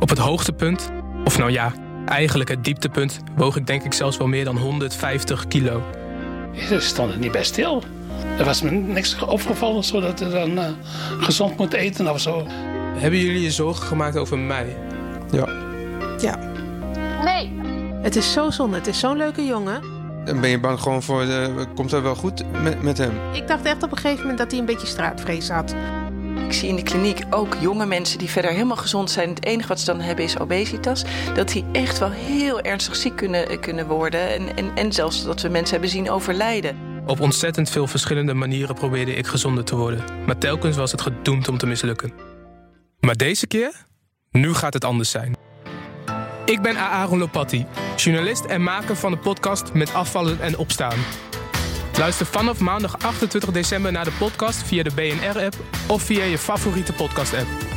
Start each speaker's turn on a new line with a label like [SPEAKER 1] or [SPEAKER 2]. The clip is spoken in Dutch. [SPEAKER 1] Op het hoogtepunt, of nou ja, eigenlijk het dieptepunt, woog ik denk ik zelfs wel meer dan 150 kilo.
[SPEAKER 2] Ze stonden niet bij stil. Er was me niks opgevallen zodat ze dan eh, gezond moet eten of zo.
[SPEAKER 1] Hebben jullie je zorgen gemaakt over mij? Ja.
[SPEAKER 3] Nee.
[SPEAKER 4] Het is zo zonde. Het is zo'n leuke jongen.
[SPEAKER 5] Dan ben je bang gewoon voor, eh, komt dat wel goed met, met hem?
[SPEAKER 4] Ik dacht echt op een gegeven moment dat hij een beetje straatvrees had.
[SPEAKER 6] Ik zie in de kliniek ook jonge mensen die verder helemaal gezond zijn. Het enige wat ze dan hebben is obesitas. Dat die echt wel heel ernstig ziek kunnen, eh, kunnen worden. En, en, en zelfs dat we mensen hebben zien overlijden.
[SPEAKER 1] Op ontzettend veel verschillende manieren probeerde ik gezonder te worden, maar telkens was het gedoemd om te mislukken. Maar deze keer? Nu gaat het anders zijn. Ik ben Aaron Lopatti, journalist en maker van de podcast Met Afvallen en Opstaan. Luister vanaf maandag 28 december naar de podcast via de BNR-app of via je favoriete podcast-app.